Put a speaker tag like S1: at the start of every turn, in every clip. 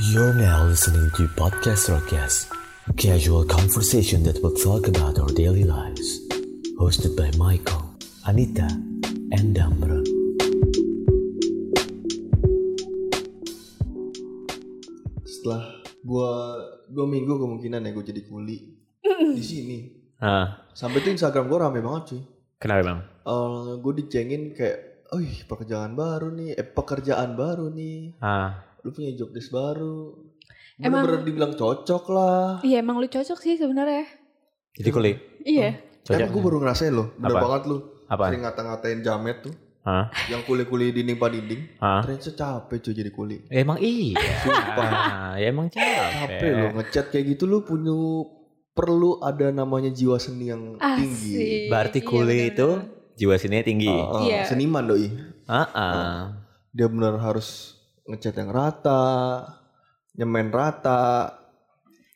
S1: You're now listening to Podcast Rockcast, a casual conversation that will talk about our daily lives. Hosted by Michael, Anita, and Damron.
S2: Eh,
S3: setelah gua dua minggu kemungkinan ya gua jadi kuli di sini
S2: Ah,
S3: sampai tuh Instagram gua rame banget cuy
S2: kenapa bang?
S3: Eh gua dicengin kayak Ih, pekerjaan baru nih, eh pekerjaan baru nih,
S2: Ah,
S3: lu punya job desk baru.
S4: Emang-
S3: Bener-bener dibilang cocok lah.
S4: Iya emang lu cocok sih sebenarnya.
S2: jadi kuli.
S4: Iya.
S3: Tapi
S2: Cocok.
S3: gue baru ngerasain loh, bener
S2: Apa?
S3: banget lu.
S2: Apaan?
S3: Sering ngata-ngatain jamet tuh,
S2: Hah?
S3: yang kuli-kuli dinding padinding.
S2: Hah?
S3: Ternyata capek cuy jadi kuli.
S2: Ya, emang iya. Ah, ya emang
S3: Capek lo
S2: capek.
S3: ngechat kayak gitu lu punya perlu ada namanya jiwa seni yang tinggi.
S4: Asik.
S2: Berarti
S4: Iya,
S2: kuli
S4: bener-bener.
S2: itu jiwa sininya tinggi.
S3: Ah, ah,
S4: Iya.
S3: Seniman doi.
S2: Ah, ah.
S3: Dia benar harus ngecat yang rata, nyemen rata.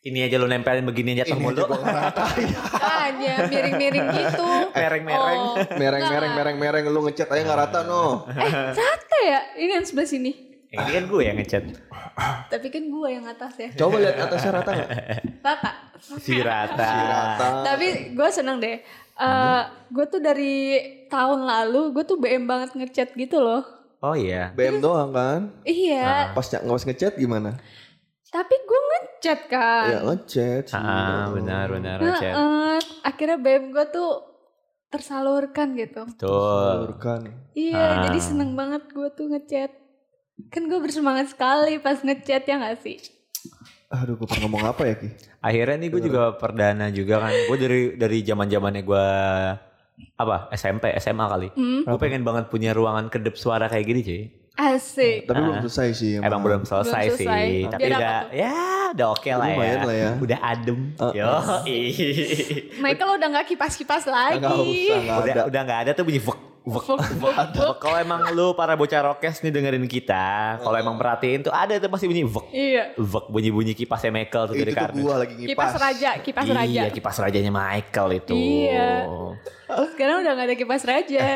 S2: Ini aja lo nempelin begini
S3: Ini
S2: aja
S3: aja
S2: mulu.
S3: gua ngeratain.
S4: Tanya Ah, miring-miring gitu.
S2: Mereng-mereng.
S4: Oh.
S3: mereng mereng mereng mereng lu ngecat aja nggak rata no.
S4: Rata ya? Ini yang sebelah sini.
S2: Ini kan gue yang ngechat.
S4: Tapi kan gua yang atas ya.
S3: Coba lihat atasnya rata nggak?
S2: Iya.
S4: Rata.
S2: Si Rata.
S3: Si rata.
S4: Tapi gua seneng deh. Eh, gua tuh dari tahun lalu gua tuh BM banget ngechat gitu loh.
S2: Oh iya.
S3: BM doang kan?
S4: Iya.
S3: Pas nggak nggak ngechat gimana?
S4: Tapi gua ngechat kan.
S3: Ya ngechat. sih.
S2: Ah, benar benar ngechat.
S4: Heeh. akhirnya BM gua tuh tersalurkan gitu.
S2: Betul.
S3: Salurkan.
S4: Iya, jadi seneng banget gue tuh ngechat. Kan gue bersemangat sekali pas ngechat ya gak sih?
S3: Aduh, gue pengen ngomong apa ya Ki?
S2: Akhirnya nih gue juga perdana juga kan. Gue dari dari zaman zamannya gue apa SMP SMA kali.
S4: Hmm,
S2: Gue pengen banget punya ruangan kedep suara kayak gini cuy.
S4: asik.
S3: Tapi belum selesai sih.
S2: Ah. Emang belum selesai,
S4: Belum selesai.
S2: sih, tapi
S4: Biar apa
S2: udah
S4: tuh?
S2: ya udah oke lah,
S3: Lumayan
S2: ya.
S3: lah ya.
S2: Udah adem. Yo.
S4: Michael udah gak kipas-kipas
S3: Enggak usah,
S4: lagi.
S3: nggak
S2: udah
S3: ada.
S2: udah nggak ada tuh bunyi vek vek vek. Kalau emang lu para bocah rokes nih dengerin kita, kalau emang perhatiin tuh ada tuh pasti bunyi vek
S4: Iya.
S2: vek bunyi-bunyi kipasnya Michael tuh
S3: Itu
S2: dari
S3: tuh
S2: karpet.
S3: gue lagi ngipas.
S4: Kipas raja, kipas raja.
S2: Iya, kipas rajanya Michael itu.
S4: Iya. Sekarang udah gak ada kipas
S3: Eh,
S4: raja.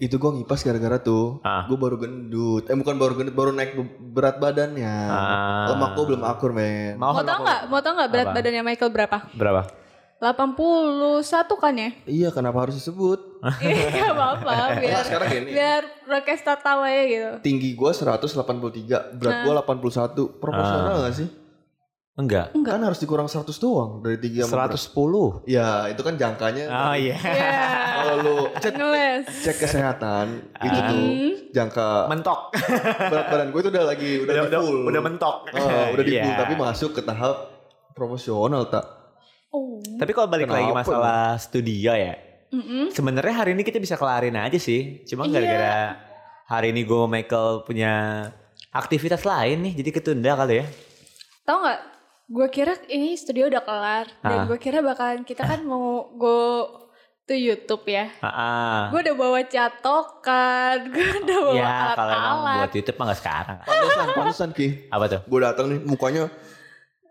S3: Itu gue ngipas gara-gara tuh
S2: Ah.
S3: Gue baru gendut Eh bukan baru gendut Baru naik be- berat badannya
S2: Ah.
S3: Lemak gue belum akur men
S2: Mau kan
S4: Mau tau gak? Mau tau gak berat
S2: Apa?
S4: badannya Michael berapa?
S2: berapa?
S4: 81 kan ya?
S3: Iya kenapa harus disebut
S4: Iya gak apa-apa. Biar,
S3: Nah, sekarang gini.
S4: biar Rockestar tahu aja gitu.
S3: Tinggi gue 183 Berat gue 81 Proporsional
S2: Ah.
S3: gak sih?
S2: Enggak.
S3: Kan harus dikurang 100 doang Dari tinggi sama
S2: 110.
S3: berat. Ya itu kan jangkanya
S2: Oh iya.
S4: Iya.
S3: Kalau lu cek,
S4: Ngeles. Hmm.
S3: cek kesehatan
S2: Ah.
S3: Itu tuh Jangka
S2: Mentok.
S3: berat badan gue itu udah lagi Udah,
S2: Udah
S3: di
S2: udah,
S3: full
S2: udah mentok.
S3: Ah, Udah di full
S2: Iya.
S3: Tapi masuk ke tahap Proporsional tak
S4: Oh.
S2: Tapi kalau balik lagi
S3: Kenapa
S2: masalah studio ya,
S4: Mm-mm.
S2: sebenarnya hari ini kita bisa kelarin aja sih. Cuma gara-gara hari ini gue Michael punya aktivitas lain nih, jadi ketunda kali ya.
S4: Tau nggak? Gue kira ini studio udah kelar
S2: Ah.
S4: dan gue kira bakalan kita kan mau go to YouTube ya.
S2: Ah,
S4: Gue udah bawa catokan, gue udah
S2: ah.
S4: bawa
S2: ya kalau emang
S4: alat-alat.
S2: buat YouTube mah gak sekarang.
S3: Pantesan, pantesan Ki
S2: Apa tuh?
S3: gue datang nih mukanya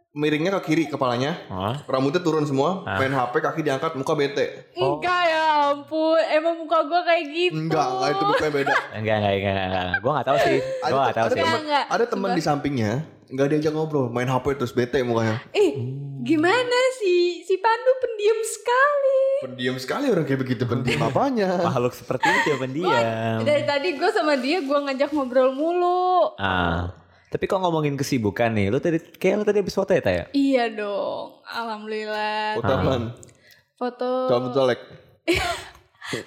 S3: miringnya ke kiri kepalanya
S2: Hah?
S3: rambutnya turun semua main HP kaki diangkat muka bete
S4: Enggak ya ampun, emang muka gue kayak gitu.
S3: enggak enggak itu mukanya beda
S2: Enggak, enggak, enggak, enggak, enggak. Gue gak tau sih.
S3: ada,
S2: Gue gak tau
S3: Eh, ada
S2: Oh, sih.
S3: teman
S4: Enggak,
S3: ada teman di sampingnya nggak diajak ngobrol main HP terus bete mukanya
S4: Ih,
S2: Hmm.
S4: gimana sih? Si Pandu pendiam sekali.
S3: pendiam sekali orang kayak begitu pendiam apanya
S2: Makhluk seperti itu pendiam.
S4: Dari tadi gue sama dia gue ngajak ngobrol mulu.
S2: Ah, tapi kok ngomongin kesibukan nih, lu tadi kayak lu tadi habis foto ya, Taya?
S4: Iya dong, alhamdulillah.
S3: utapan
S4: Foto
S3: calon jelek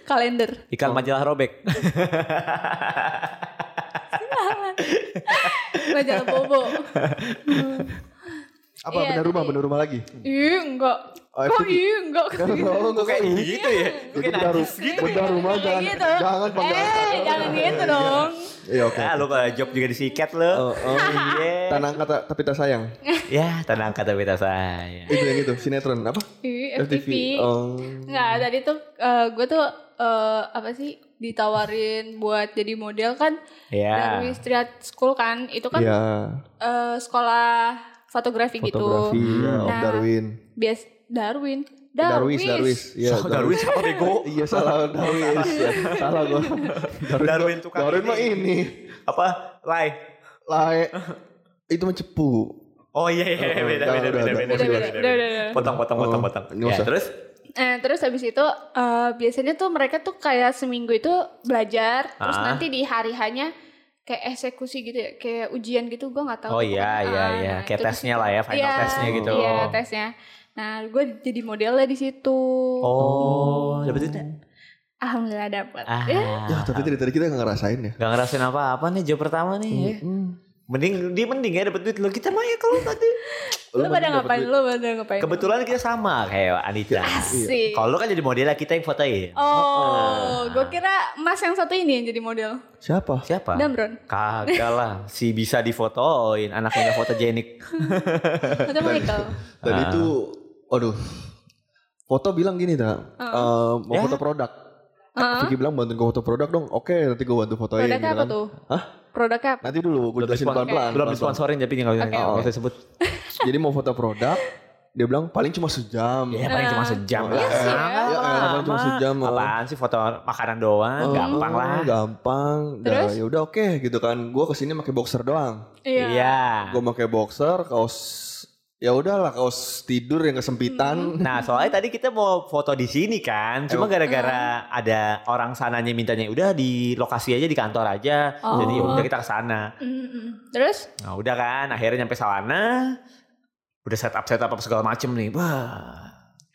S4: kalender.
S2: Iklan majalah robek.
S4: Majalah Bobo.
S3: apa
S4: Iya,
S3: benar rumah benar rumah lagi
S4: Ih enggak.
S3: Oh,
S4: Kok
S3: itu-
S4: iya enggak?
S3: Kok kayak
S2: gitu ya?
S3: itu benar rumah benar rumah
S4: gitu. Kayak
S3: jangan
S4: gitu.
S3: jangan penggal
S4: Eh, jangan gitu dong.
S3: iya oke
S2: Ah, lu kalau job juga disikat lu.
S3: Oh, oh.
S2: Iya.
S3: tanah kata tapi tak sayang
S2: Ya, tanah angkat tapi tak saya.
S3: itu yang itu sinetron apa
S4: Ih,
S3: FTV
S4: FTV.
S3: oh
S4: Enggak, tadi tuh eh, gue tuh eh, apa sih ditawarin buat jadi model kan
S3: Iya.
S2: Ya.
S4: dari Street School kan. Itu kan
S3: ya
S4: eh, sekolah fotografi,
S3: fotografi
S4: gitu.
S3: ya, Om
S4: Nah,
S3: Darwin
S4: Bias Darwin.
S3: Darwis, Darwis. Iya,
S2: Sama Darwin siapa bego?
S3: Iya, salah Darwis. Ya, salah gua.
S2: Darwin tukang
S3: Darwin
S2: ini.
S3: mah ini.
S2: Apa? Lai.
S3: Lae. itu mah cepu.
S2: Oh iya
S3: Oh,
S2: iya beda
S3: udah,
S2: beda
S3: udah, udah,
S2: beda beda
S4: udah,
S2: beda
S4: udah,
S2: beda.
S4: udah, udah, udah.
S2: Potong potong potong
S3: Oh,
S2: potong.
S3: nggak
S2: Ya,
S3: usah.
S2: terus
S4: Eh, terus habis itu eh, biasanya tuh mereka tuh kayak seminggu itu belajar terus
S2: Ah.
S4: nanti di hari hanya kayak eksekusi gitu ya kayak ujian gitu gue nggak tahu
S2: Oh iya, iya,
S4: Ah,
S2: iya.
S4: nah,
S2: Kayak
S4: itu di
S2: tesnya
S4: situ.
S2: lah ya, final
S4: Iya,
S2: tesnya gitu.
S4: iya tesnya nah gue jadi modelnya di situ
S2: oh dapat duitnya.
S4: alhamdulillah dapat
S2: Ah.
S4: Ya,
S3: Ya, tapi dari tadi kita nggak ngerasain ya.
S2: Gak ngerasain apa-apa nih job pertama nih ya.
S4: Hmm.
S2: Mending dia mending ya dapat duit lo kita mah ya kalau tadi.
S4: lu pada ngapain lu pada ngapain
S2: Kebetulan kita sama kayak Anita.
S4: Asik.
S2: Kalau Ah. lo kan jadi model kita yang fotoin.
S4: Oh, gue kira mas yang satu ini yang jadi model.
S3: Siapa?
S2: Siapa?
S4: Damron.
S2: Kagak lah, si bisa difotoin anaknya fotogenik.
S4: Atau Michael.
S3: Tadi
S2: Ah.
S3: itu, aduh. Foto bilang gini tak,
S4: Ah.
S3: eh, mau
S2: Ya.
S3: foto produk. Vicky bilang bantuin gue foto produk dong. Oke, nanti gue bantu fotoin.
S4: Produknya
S3: gitu
S4: apa
S3: kan.
S4: tuh?
S3: Hah?
S4: Produknya apa?
S3: Nanti dulu gue jelasin
S2: dispon-
S3: pelan-pelan.
S2: Belum
S3: pelan-pelan.
S2: disponsorin tapi nggak usah
S4: Oke,
S2: nggak usah sebut.
S3: Jadi mau foto produk, dia bilang paling cuma sejam.
S2: Ya paling cuma sejam lah.
S4: Iya sih ya.
S3: Ya,
S2: Lama.
S3: paling cuma sejam. oh.
S2: Apaan sih foto makanan doang,
S3: Oh,
S2: gampang lah.
S3: Gampang.
S4: Terus?
S3: Ya udah oke gitu kan. Gue kesini pakai boxer doang.
S2: Nah.
S4: Iya.
S3: Gue pakai boxer, kaos ya udahlah kaos tidur yang kesempitan.
S2: Nah soalnya tadi kita mau foto di sini kan, cuma gara-gara ada orang sananya mintanya udah di lokasi aja di kantor aja,
S4: Oh.
S2: jadi "Ya udah kita ke sana.
S4: Mm-mm. Terus?
S2: Nah udah kan, akhirnya nyampe sana, udah setup setup apa segala macem nih, wah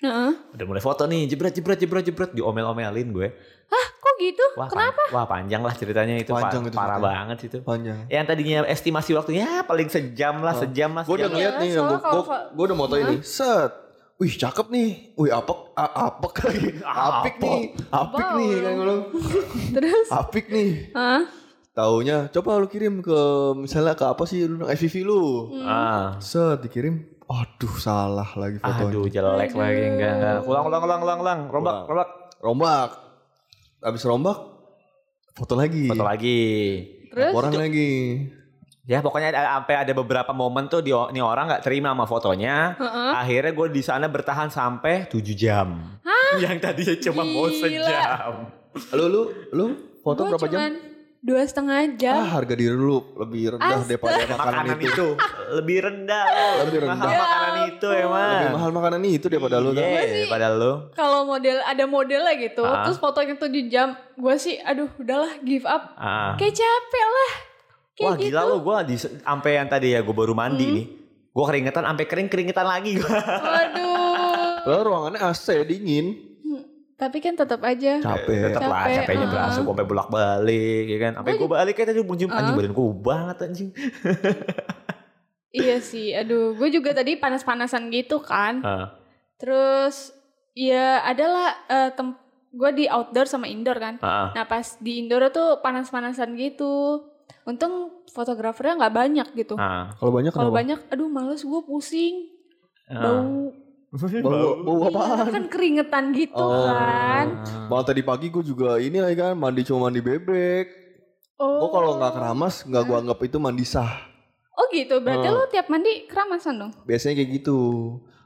S4: Heeh.
S2: udah mulai foto nih, jebret jebret jebret jebret diomel-omelin gue.
S4: Kok gitu?
S2: Wah, pan-
S4: Kenapa?
S2: wah panjang lah ceritanya itu,
S3: Panjang
S2: pa-
S3: itu
S2: parah
S3: ceritanya.
S2: banget itu.
S3: Panjang.
S2: Yang tadinya estimasi waktunya ya, paling sejam lah, sejam lah.
S3: Gue Oh. udah
S2: sejam.
S4: Iya,
S3: ngeliat nih,
S4: soalnya
S3: gue
S4: kalau-
S3: gue udah moto ini. Set. Wih cakep nih. Wih apek, a- apek lagi. Apik nih. Apik nih kan gue bilang.
S4: Terus?
S3: Apik nih.
S4: Heeh.
S3: Taunya coba lu kirim ke misalnya ke apa sih lu bilang, FVV lu.
S4: Mm.
S2: Ah.
S3: Set dikirim. Aduh salah lagi fotonya.
S2: Aduh jelek lagi enggak enggak. Ulang ulang ulang ulang ulang. Rombak
S3: Ulang.
S2: rombak.
S3: Rombak. Abis rombak foto lagi.
S2: Foto lagi.
S4: Terus?
S3: Orang lagi.
S2: Ya pokoknya ada, sampai ada beberapa momen tuh di nih orang nggak terima sama fotonya.
S4: Heeh.
S2: Akhirnya gue di sana bertahan sampai 7 jam. Yang tadinya cuma mau
S4: Gila.
S2: sejam.
S3: Lu lu lu foto
S4: Gua
S3: berapa
S4: cuman
S3: jam?
S4: dua setengah jam.
S3: Ah, harga diri lu lebih rendah
S4: Astaga.
S3: daripada makanan
S2: Makanan
S3: itu.
S2: itu lebih rendah. loh.
S3: Lebih
S2: Mahal
S3: rendah.
S2: makanan
S4: Ya
S2: itu emang.
S3: Lebih mahal makanan itu daripada lu. kan?
S2: Iya, pada lu.
S4: Kalau model ada modelnya gitu,
S2: Ah.
S4: terus fotonya tuh di jam, gue sih aduh udahlah give up.
S2: Ah.
S4: Kayak capek lah. Kayak
S2: Wah
S4: gitu. Hmm.
S2: gila lu gue di sampai yang tadi ya gue baru mandi nih. Gue keringetan sampai kering keringetan lagi gue.
S4: Waduh.
S3: Padahal ruangannya AC dingin.
S4: Tapi kan tetap aja.
S3: Capek.
S2: tetap lah
S4: Capek,
S2: capeknya
S4: uh-uh.
S2: berasa gue sampai bolak balik ya kan sampai gue balik kayak tadi bunjum anjing badan gue banget anjing
S4: iya sih. Aduh, gue juga tadi panas-panasan gitu kan.
S2: Ah,
S4: Terus ya adalah eh, tem- gue di outdoor sama indoor kan.
S2: ah, ah.
S4: Nah pas di indoor tuh panas-panasan gitu. Untung fotografernya nggak banyak gitu.
S2: Ah,
S3: Kalau banyak
S4: Kalau
S3: kenapa?
S4: banyak, aduh males gue pusing.
S2: ah.
S4: Bau.
S3: Bau, bau
S4: Iya,
S3: apaan?
S4: Kan keringetan gitu
S3: Oh.
S4: kan.
S3: Malah tadi pagi gue juga ini lagi kan mandi cuma mandi bebek.
S4: Oh.
S3: Gue kalau nggak keramas nggak gue anggap itu mandi sah.
S4: Oh gitu, berarti
S2: Hmm.
S4: lu tiap mandi keramasan dong?
S3: Biasanya kayak gitu.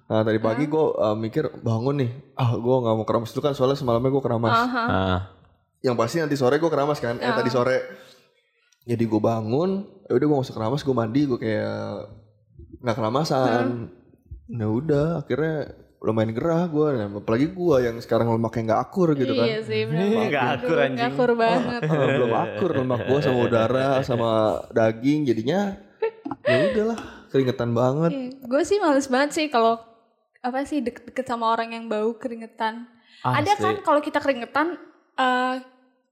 S3: Nah tadi pagi gue mikir bangun nih. Ah gue nggak mau keramas itu kan soalnya semalamnya gue keramas.
S4: Aha.
S2: Ah.
S3: yang pasti nanti sore gue keramas kan eh
S4: Ah.
S3: tadi sore jadi gue bangun ya udah gue masuk keramas gue mandi gue kayak nggak
S4: Hmm.
S3: keramasan nah udah akhirnya lumayan gerah gue apalagi gue yang sekarang lemaknya nggak akur gitu kan
S4: Iya sih, benar.
S2: Nggak akur,
S4: Aduh,
S2: anjing. Oh.
S4: nggak akur banget. Iya.
S3: Eh, belum akur lemak gue sama udara sama daging jadinya ya udahlah keringetan banget
S4: Gue sih males banget sih kalau apa sih deket-deket sama orang yang bau keringetan. Ada
S2: Ah, Asli.
S4: kan kalau kita keringetan eh,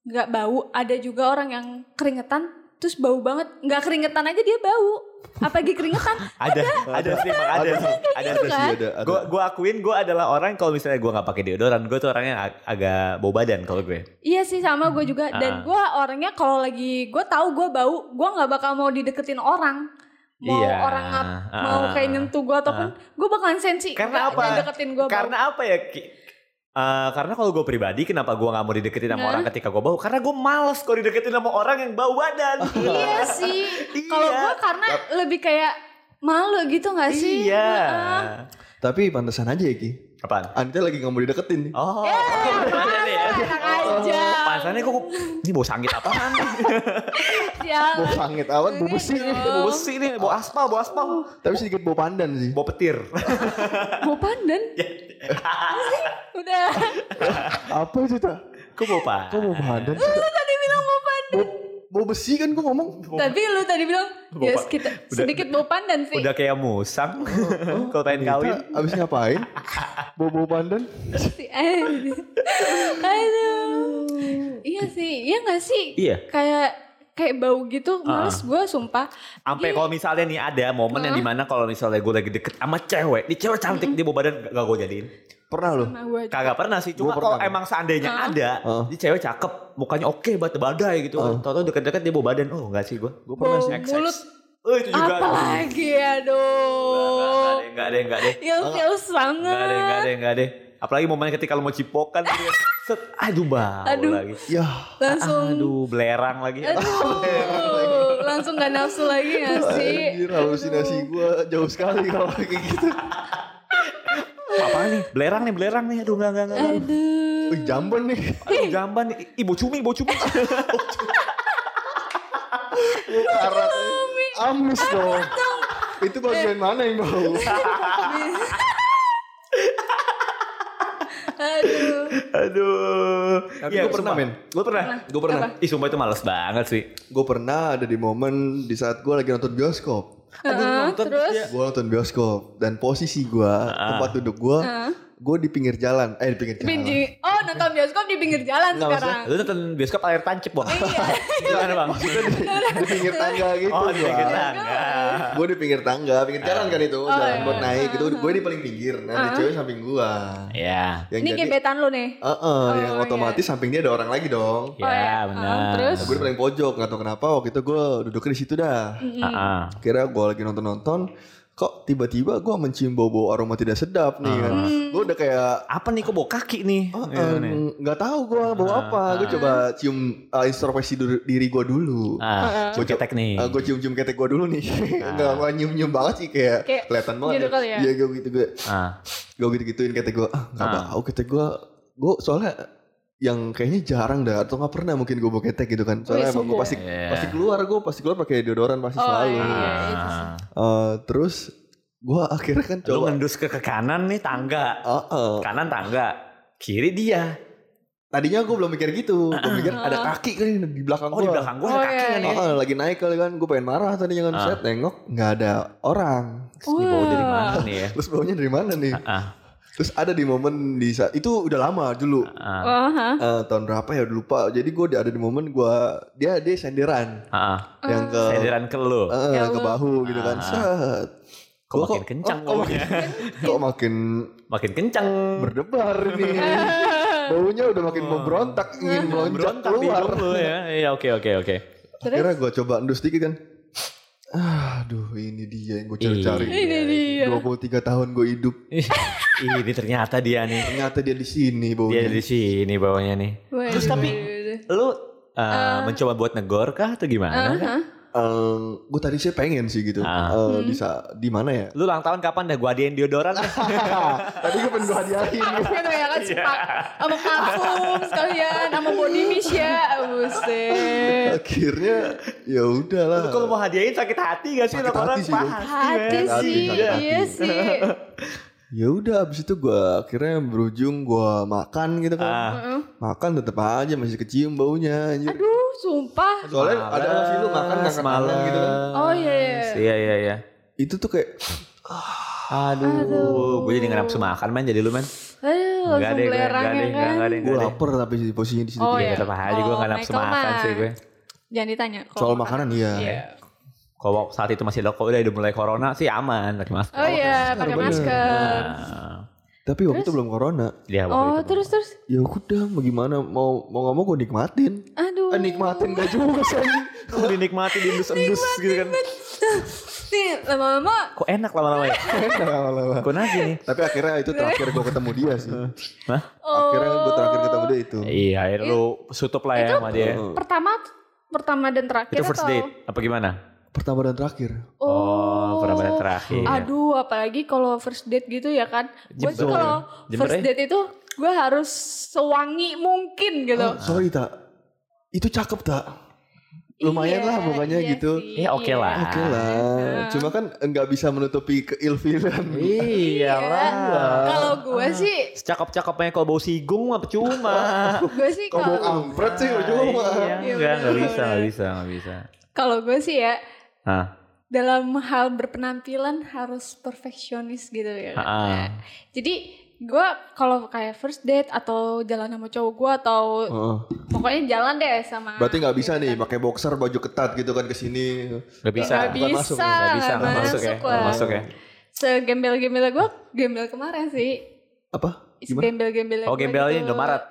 S4: nggak bau, ada juga orang yang keringetan terus bau banget, nggak keringetan aja dia bau. Apalagi keringetan.
S2: ada ada sih emang ada sih ada
S4: gitu
S2: sih
S4: kan?
S3: ada, ada.
S2: gue gue akuin gue adalah orang kalau misalnya gue nggak pakai deodoran gue tuh orangnya ag- agak bau badan kalau gue
S4: Iya sih sama
S2: Hmm.
S4: gue juga
S2: Ah.
S4: dan gue orangnya kalau lagi gue tahu gue bau gue nggak bakal mau dideketin orang mau
S2: Iya.
S4: orang ngap mau
S2: Ah.
S4: kayak nyentuh gue ataupun gue bakalan sensi
S2: karena
S4: nggak-
S2: apa
S4: nggak deketin gue
S2: karena apa ya Ki? Eh, karena kalau gue pribadi kenapa gue nggak mau dideketin sama
S4: Nah.
S2: orang ketika gue bau karena gue males kalau dideketin sama orang yang bau badan
S4: Iya sih.
S2: Iya.
S4: Kalau gue karena lebih kayak malu gitu gak sih? ah,
S2: iya
S4: Heeh.
S3: tapi pantesan aja ya ki
S2: apaan
S3: Anita lagi nggak mau dideketin
S2: Oh,
S4: apaan?
S2: beneran ya?
S4: Enak Eh, aja.
S2: Oh, penasarannya kok ini bau sangit apaan?
S3: Bau
S4: Jalan.
S3: sangit awan, bau besi.
S4: Iya dong.
S2: bau besi nih, bau aspal, bau aspal.
S3: Tapi sedikit bau pandan sih.
S2: Bau petir.
S4: Mau pandan? Udah.
S3: Apa itu tak?
S2: Kok bau pak?
S3: Kok bau pandan sih? Tak?
S4: Tadi bilang mau pandan.
S3: Bau, bau besi kan gue ngomong.
S4: Tapi lu tadi bilang
S2: Mau
S4: ya
S2: pa-
S4: sedikit,
S2: Udah.
S4: sedikit mau pandan sih.
S2: Udah kayak
S4: Oh,
S2: musang. Kau tain kawin.
S3: Kita Abis ngapain? Bau bau pandan?
S4: Si Aduh. Aduh. Iya sih, iya gak sih?
S2: Iya. Ah.
S4: Kayak kayak bau gitu, males gue sumpah.
S2: Sampai
S4: Iya.
S2: kalau misalnya nih ada momen yang dimana kalau misalnya gue lagi deket sama cewek, nih cewek cantik, dia bau badan gak gue jadiin.
S3: Pernah loh.
S4: Nah, gua-
S2: Kagak pernah sih, cuma
S3: Gua
S2: kalau
S3: pernah.
S2: emang seandainya ada,
S3: Heeh.
S2: ini cewek cakep, mukanya oke, batu badai gitu.
S3: Heeh.
S2: Tau-tau deket-deket dia bau badan, oh enggak sih gue. Gue pernah
S4: Bau
S2: sih, XX.
S4: mulut.
S2: Eh, itu juga.
S4: Apalagi aduh.
S2: Enggak ada, enggak ada. Enggak
S4: Ilfil
S2: Oh. ada,
S4: banget.
S2: enggak ada, enggak ada. Apalagi momen ketika lu mau cipokan, gitu ya. set, aduh bau
S4: Aduh.
S2: lagi.
S3: Ya.
S4: Langsung
S2: Aduh, belerang lagi.
S4: aduh. Langsung gak nafsu lagi gak sih?
S3: Anjir halusinasi gue jauh sekali kalau kayak gitu.
S2: Apa nih? Belerang nih, belerang nih. Aduh, enggak, enggak, enggak.
S4: Aduh.
S3: Wih jamban nih.
S2: Aduh, jamban. Ih, bau cumi, bau cumi.
S3: Karat. Amis dong. Itu bagian mana yang bau?
S4: Aduh.
S2: Aduh.
S3: Tapi gua pernah, men.
S2: Gue pernah. Gue pernah. Ih, sumpah itu males banget sih.
S3: Gue pernah ada di momen di saat gue lagi nonton bioskop.
S2: Aduh,
S4: Heeh,
S2: nonton
S4: terus
S2: dia- Ah.
S3: Gue nonton bioskop dan posisi gue, tempat duduk gue, gue di pinggir jalan. Eh di pinggir jalan.
S4: Binji. Oh nonton bioskop di pinggir jalan
S3: Nggak,
S4: sekarang.
S2: Lu nonton bioskop air tancep, Bang.
S4: Iya.
S2: Gimana, Bang?
S3: di pinggir tangga gitu.
S2: Oh, di pinggir
S3: gua.
S2: tangga.
S3: Gue di pinggir tangga, pinggir jalan kan itu, jalan
S4: iya. Uh-huh.
S3: buat naik gitu. Gue di paling pinggir, nah ada cewek samping gue.
S2: Ya.
S3: Yang
S4: Ini Oh,
S3: jadi,
S4: gebetan lu nih.
S3: Eh, eh, yang
S4: iya.
S3: otomatis samping dia ada orang lagi dong.
S4: Oh,
S2: Ya,
S4: ya.
S2: benar.
S4: Ah, terus?
S3: Nah, gue di paling pojok, gak tau kenapa waktu itu gue duduknya di situ dah.
S2: Heeh.
S3: Kira gue lagi nonton-nonton, kok tiba-tiba gue mencium bau-bau aroma tidak sedap nih kan.
S4: Ah.
S3: Gue udah kayak
S2: Apa nih kok bau kaki nih?
S3: Oh,
S2: Gitu nih. Ah,
S3: em, nggak tahu gue bau apa. Gue coba cium eh, introspeksi du- diri gue dulu. oh.
S2: Ah,
S3: Gua
S2: cium ketek nih. Ah.
S3: gue cium-cium ketek gue dulu nih. Enggak nggak nyium-nyium banget sih kayak,
S4: Kayak
S3: kelihatan banget.
S4: gitu kali ya?
S3: Iya gue gitu gue
S2: Ah.
S3: gue gitu-gituin ketek gue. Ah nggak bau ketek gue. Gue soalnya yang kayaknya jarang dah atau nggak pernah mungkin gue bau ketek gitu kan. Soalnya
S4: Wih,
S3: emang gue
S4: sombong.
S3: pasti
S2: Iya.
S3: pasti keluar gue pasti keluar pakai deodoran pasti
S4: Oh,
S3: selalu.
S4: iya.
S2: Ah.
S3: Eh, terus gue akhirnya kan
S2: Lu
S3: coba.
S2: ngendus ke, ke kanan nih tangga.
S3: Ah, ah.
S2: Kanan tangga. Kiri dia.
S3: Tadinya gue belum mikir gitu, gue mikir ada kaki kan di belakang
S2: Oh,
S3: gue.
S2: di belakang gua
S4: Oh,
S2: ada kaki
S4: iya,
S2: kan ya.
S3: Oh, lagi naik kali kan, gue pengen marah tadinya kan
S2: Ah.
S3: set nengok nggak ada orang.
S2: Terus Ini bau dari
S4: Wah.
S2: mana nih ya?
S3: Terus baunya dari mana nih?
S2: Ah.
S3: Terus ada di momen di saat itu udah lama dulu.
S2: Ah.
S4: Wah,
S3: Eh, tahun berapa ya udah lupa. Jadi gue ada di momen gue dia dia senderan
S2: Ah.
S3: yang ke
S2: Senderan ke lu.
S3: eh,
S4: Oh. Ya
S3: ke
S4: Allah.
S3: bahu gitu kan. Set.
S2: Kok
S3: Gua
S2: makin kencang
S3: oh, kok
S2: baunya?
S3: makin- Kok makin
S2: Makin kencang.
S3: berdebar ini. Baunya udah makin memberontak ingin meloncat
S2: Berontak di
S3: keluar.
S2: hidung lu ya. Iya, oke oke oke.
S3: Akhirnya gue coba endus dikit kan. Ah, Aduh ini dia yang gue cari-cari.
S4: ini dia.
S3: 23 tahun gue hidup
S2: Ih, Ini ternyata dia nih.
S3: Ternyata dia di sini
S2: Dia
S3: baunya.
S2: di sini bawahnya nih. Terus
S4: Waduh.
S2: tapi lu eh, mencoba buat negor kah atau gimana? kan? kah?
S3: gue tadi sih pengen sih gitu.
S2: Ah.
S3: Eh, di
S4: Hmm.
S3: sa- di mana ya?
S2: Lu ulang tahun kapan dah gua hadiahin deodoran?
S3: tadi gue pengen gue hadiahin.
S4: Harusnya tuh ya kan sepak sama parfum sekalian sama body mist ya. Buset.
S3: Akhirnya ya udahlah.
S2: Kalau mau hadiahin sakit hati gak sih
S3: Sakit
S2: orang-orang?
S3: hati sih, ya. Bang.
S4: Hati
S2: men.
S4: sih,
S3: hati, hati.
S4: iya sih.
S3: Ya udah abis itu gue akhirnya berujung gue makan gitu kan.
S2: Ah.
S3: Makan tetep aja masih kecium baunya. Anjir.
S4: Aduh, sumpah.
S3: Soalnya ada
S2: Males,
S3: nggak sih lu makan ngangkat tangan gitu kan.
S4: Oh iya, iya.
S2: males. Iya iya iya.
S3: Itu tuh kayak
S2: Aduh, gue jadi nggak nafsu makan man jadi lu man.
S4: Aduh,
S2: Nggak
S4: langsung
S2: deh, gue-
S4: belerang
S2: nggak
S4: ya
S2: deh, nggak
S4: kan.
S2: nggak deh,
S3: gue
S2: nggak deh.
S3: lapar tapi di posisinya di situ.
S4: Oh,
S3: juga.
S4: iya.
S2: Ya tetap aja gue
S4: Oh,
S2: nggak nafsu
S4: Michael
S2: makan sih
S4: mah.
S2: gue.
S4: Jangan ditanya. kalau
S3: Soal makanan iya.
S2: Kalau saat itu masih loko udah udah mulai corona sih aman pakai masker.
S4: Oh iya, pakai masker.
S2: Nah,
S3: Tapi waktu itu belum corona.
S2: dia waktu
S4: Oh,
S2: itu.
S4: terus terus.
S3: Ya udah, mau gimana? Mau mau nggak mau gue nikmatin.
S4: Aduh.
S3: Eh, nikmatin gak juga sih. anjing.
S2: Tuh dinikmati diendus-endus gitu kan.
S4: Nih, lama-lama
S2: Kok enak lama-lama ya?
S3: Enak lama-lama.
S2: Kok nagih nih?
S3: Tapi akhirnya itu terakhir gue ketemu dia sih.
S4: Oh.
S2: Hah?
S3: Akhirnya gue terakhir ketemu dia itu.
S2: Iya, akhirnya lu tutup lah ya sama dia.
S4: pertama pertama dan terakhir
S2: Itu first
S4: atau-
S2: date apa gimana?
S3: Pertama dan terakhir.
S2: Oh, pertama dan terakhir.
S3: Iya.
S4: Aduh, apalagi kalau first date gitu ya kan. Gue tuh
S2: Jember.
S4: kalau
S2: Jember
S4: first
S2: ya?
S4: date itu gue harus sewangi mungkin gitu.
S3: Oh, sorry tak. itu cakep tak lumayan lah pokoknya
S4: iya
S3: gitu
S4: sih,
S2: Ya, oke
S4: iya.
S2: lah.
S3: oke lah cuma kan nggak bisa menutupi keilfilan
S2: Iya
S4: Kalau gue sih,
S2: Secakep-cakepnya kalau bau sigung mah percuma.
S4: gue sih
S3: Kau mau
S4: kalau
S3: kampret sih
S2: Iya,
S3: cuma
S4: Iya,
S2: enggak, enggak
S4: bener,
S2: bisa,
S4: bener.
S2: enggak bisa, enggak bisa. Ah,
S4: kalau gue sih ya
S2: Hah.
S4: dalam hal berpenampilan harus perfeksionis gitu ya. kan.
S2: Ah.
S4: Nah, Jadi gue kalau kayak first date atau jalan sama cowok gue atau
S3: Heeh.
S4: pokoknya jalan deh
S3: Oh.
S4: sama.
S3: Berarti nggak bisa
S4: gitu
S3: nih
S4: kan.
S3: pakai boxer baju ketat gitu kan ke sini.
S2: Enggak bisa.
S4: Nggak
S3: bukan
S4: bisa,
S3: masuk,
S2: Enggak
S4: nggak
S2: bisa, enggak masuk ya.
S4: lah.
S2: Enggak masuk ya.
S4: Segembel-gembel gue, gembel kemarin sih.
S3: Apa? Gimana?
S4: Segembel-gembel
S2: Oh,
S4: gua
S2: gembelnya
S4: gitu.
S2: Indomaret.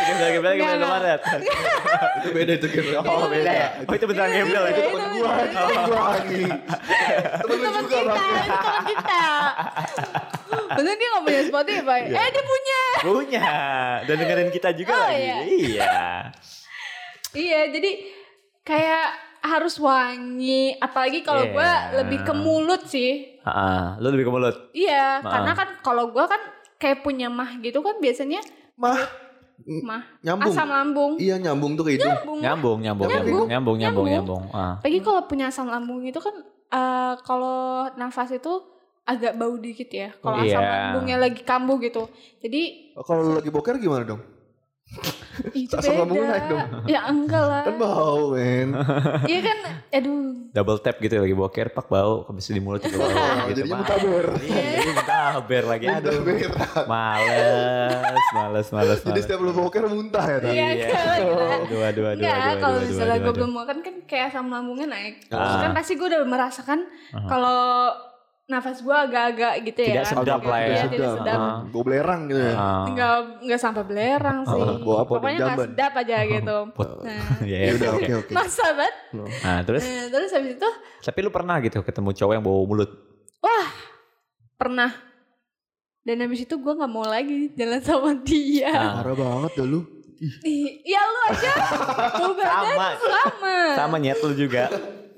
S2: Gembel gembel gembel
S4: Enggak,
S2: Indomaret.
S3: itu beda itu gitu.
S2: Oh, beda ya. Oh, itu beneran gembel itu.
S3: Temen gua, temen gua lagi. Temen lu
S4: teman
S3: juga
S4: kita,
S3: bang.
S4: itu teman kita. Bener dia nggak punya Spotify. Eh dia punya.
S2: Punya. Dan dengerin kita juga
S4: Oh,
S2: lagi.
S4: iya.
S2: Iya.
S4: Iya jadi kayak harus wangi. Apalagi kalau
S2: Iya.
S4: gua lebih ke mulut sih.
S2: Heeh. Lu lebih ke mulut.
S4: Iya
S2: Maaf.
S4: karena kan kalau gua kan kayak punya mah gitu kan biasanya
S3: Mah,
S4: mah
S3: nyambung.
S4: asam lambung.
S3: Iya nyambung tuh ke hidung.
S4: Nyambung.
S2: Nyambung, nyambung, nyambung,
S4: Nyambung.
S2: nyambung, nyambung,
S4: Nyambung.
S2: nyambung. Ah.
S4: Apalagi kalau punya asam lambung itu kan eh, kalau nafas itu agak bau dikit ya.
S3: Oh,
S4: Kalau asam
S2: Iya.
S4: lambungnya lagi kambuh gitu. Jadi
S3: Kalau lu lagi boker gimana dong?
S4: itu
S3: Asam
S4: beda.
S3: lambung naik dong.
S4: Ya enggak lah.
S3: Kan bau men.
S4: Iya kan, aduh.
S2: Double tap gitu ya, lagi boker, pak bau, habis itu di mulut juga bau.
S3: Oh,
S2: gitu.
S3: jadinya
S2: Mah.
S3: mutaber.
S2: Iya, jadi mutaber lagi. Aduh.
S3: Mutaber.
S2: Males, males, males,
S3: Jadi
S2: males.
S3: setiap lu boker muntah ya tadi.
S4: Iya kan.
S2: Aduh, aduh, aduh,
S4: Enggak,
S2: aduh,
S4: kalau
S2: aduh,
S4: misalnya
S2: aduh,
S4: gue
S2: aduh.
S4: belum makan kan kayak asam lambungnya naik. Terus
S2: Ah.
S4: kan pasti gue udah merasakan
S2: Ah.
S4: kalau nafas gue agak-agak gitu ya.
S2: Tidak sedap lah ya.
S4: Iya,
S3: Agak
S4: tidak
S3: sedap.
S4: sedap.
S2: Ah.
S3: Gue belerang gitu ya.
S2: Ah.
S4: Enggak, enggak sampai belerang sih.
S3: Ah, gua apa,
S4: Pokoknya
S3: jamban?
S4: enggak sedap aja gitu.
S2: Pot.
S4: Nah,
S2: Iya,
S3: Ya
S2: iya,
S3: udah
S2: oke.
S3: oke oke.
S4: masa banget.
S2: Nah, terus
S4: Nah, terus habis itu,
S2: tapi lu pernah gitu ketemu cowok yang bau mulut?
S4: wah pernah. Dan habis itu gue gak mau lagi jalan sama dia.
S2: Nah,
S3: Parah banget dah lu. Ih,
S4: Ih, Ya lu aja. Lu badan
S2: sama
S4: sama.
S2: sama nyet lu juga.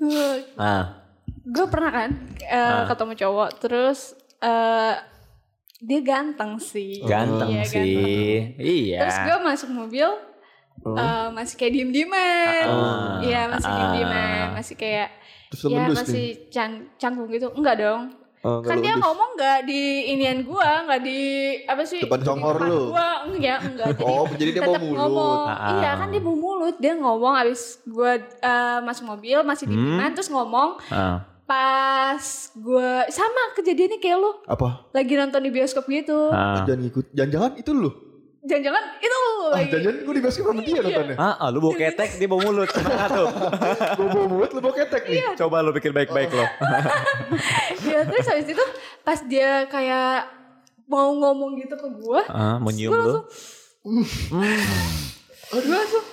S4: Eh,
S2: Nah,
S4: gue pernah kan eh,
S2: Ah.
S4: ketemu cowok terus eh, dia ganteng sih
S2: Oh, ganteng
S4: Iya,
S2: sih. Iya.
S4: terus gue masuk mobil
S3: Oh.
S4: eh, masih kayak diem dieman
S2: Ah.
S4: iya masih
S2: Ah.
S4: diem dieman masih kayak
S3: terus lu
S4: ya
S3: mendus
S4: masih
S3: nih.
S4: can- canggung gitu enggak dong
S3: Oh, enggak,
S4: kan
S3: lu
S4: dia
S3: mendus.
S4: ngomong nggak di inian gue nggak di apa sih
S3: Depan
S4: di
S3: congor
S4: depan
S3: lu.
S4: gua enggak enggak jadi
S3: Oh, jadi dia
S4: tetap
S3: bau mulut.
S4: ngomong
S2: Ah.
S4: iya kan dia bau mulut dia ngomong abis gue eh, masuk mobil masih diem
S2: Hmm.
S4: dieman terus ngomong
S2: Ah.
S4: pas gue sama kejadiannya kayak lo
S3: Apa?
S4: lagi nonton di bioskop gitu
S2: Ah.
S3: Jangan ngikut. Jangan-jangan itu lu.
S4: jangan-jangan itu
S2: Oh,
S4: lo
S3: Ah,
S4: lagi
S3: jangan-jangan gue di bioskop sama
S4: Iya.
S3: dia nontonnya.
S2: Ah, ah, lu bau ketek dia bau mulut. Semangat tuh.
S3: Gue bawa mulut lu bawa ketek
S4: Iya.
S3: nih.
S2: Coba lu pikir baik-baik lo.
S4: ya terus habis itu pas dia kayak mau ngomong gitu ke gue
S2: Ah, mau nyium
S4: gue
S2: lu. Hmm.
S4: langsung gue langsung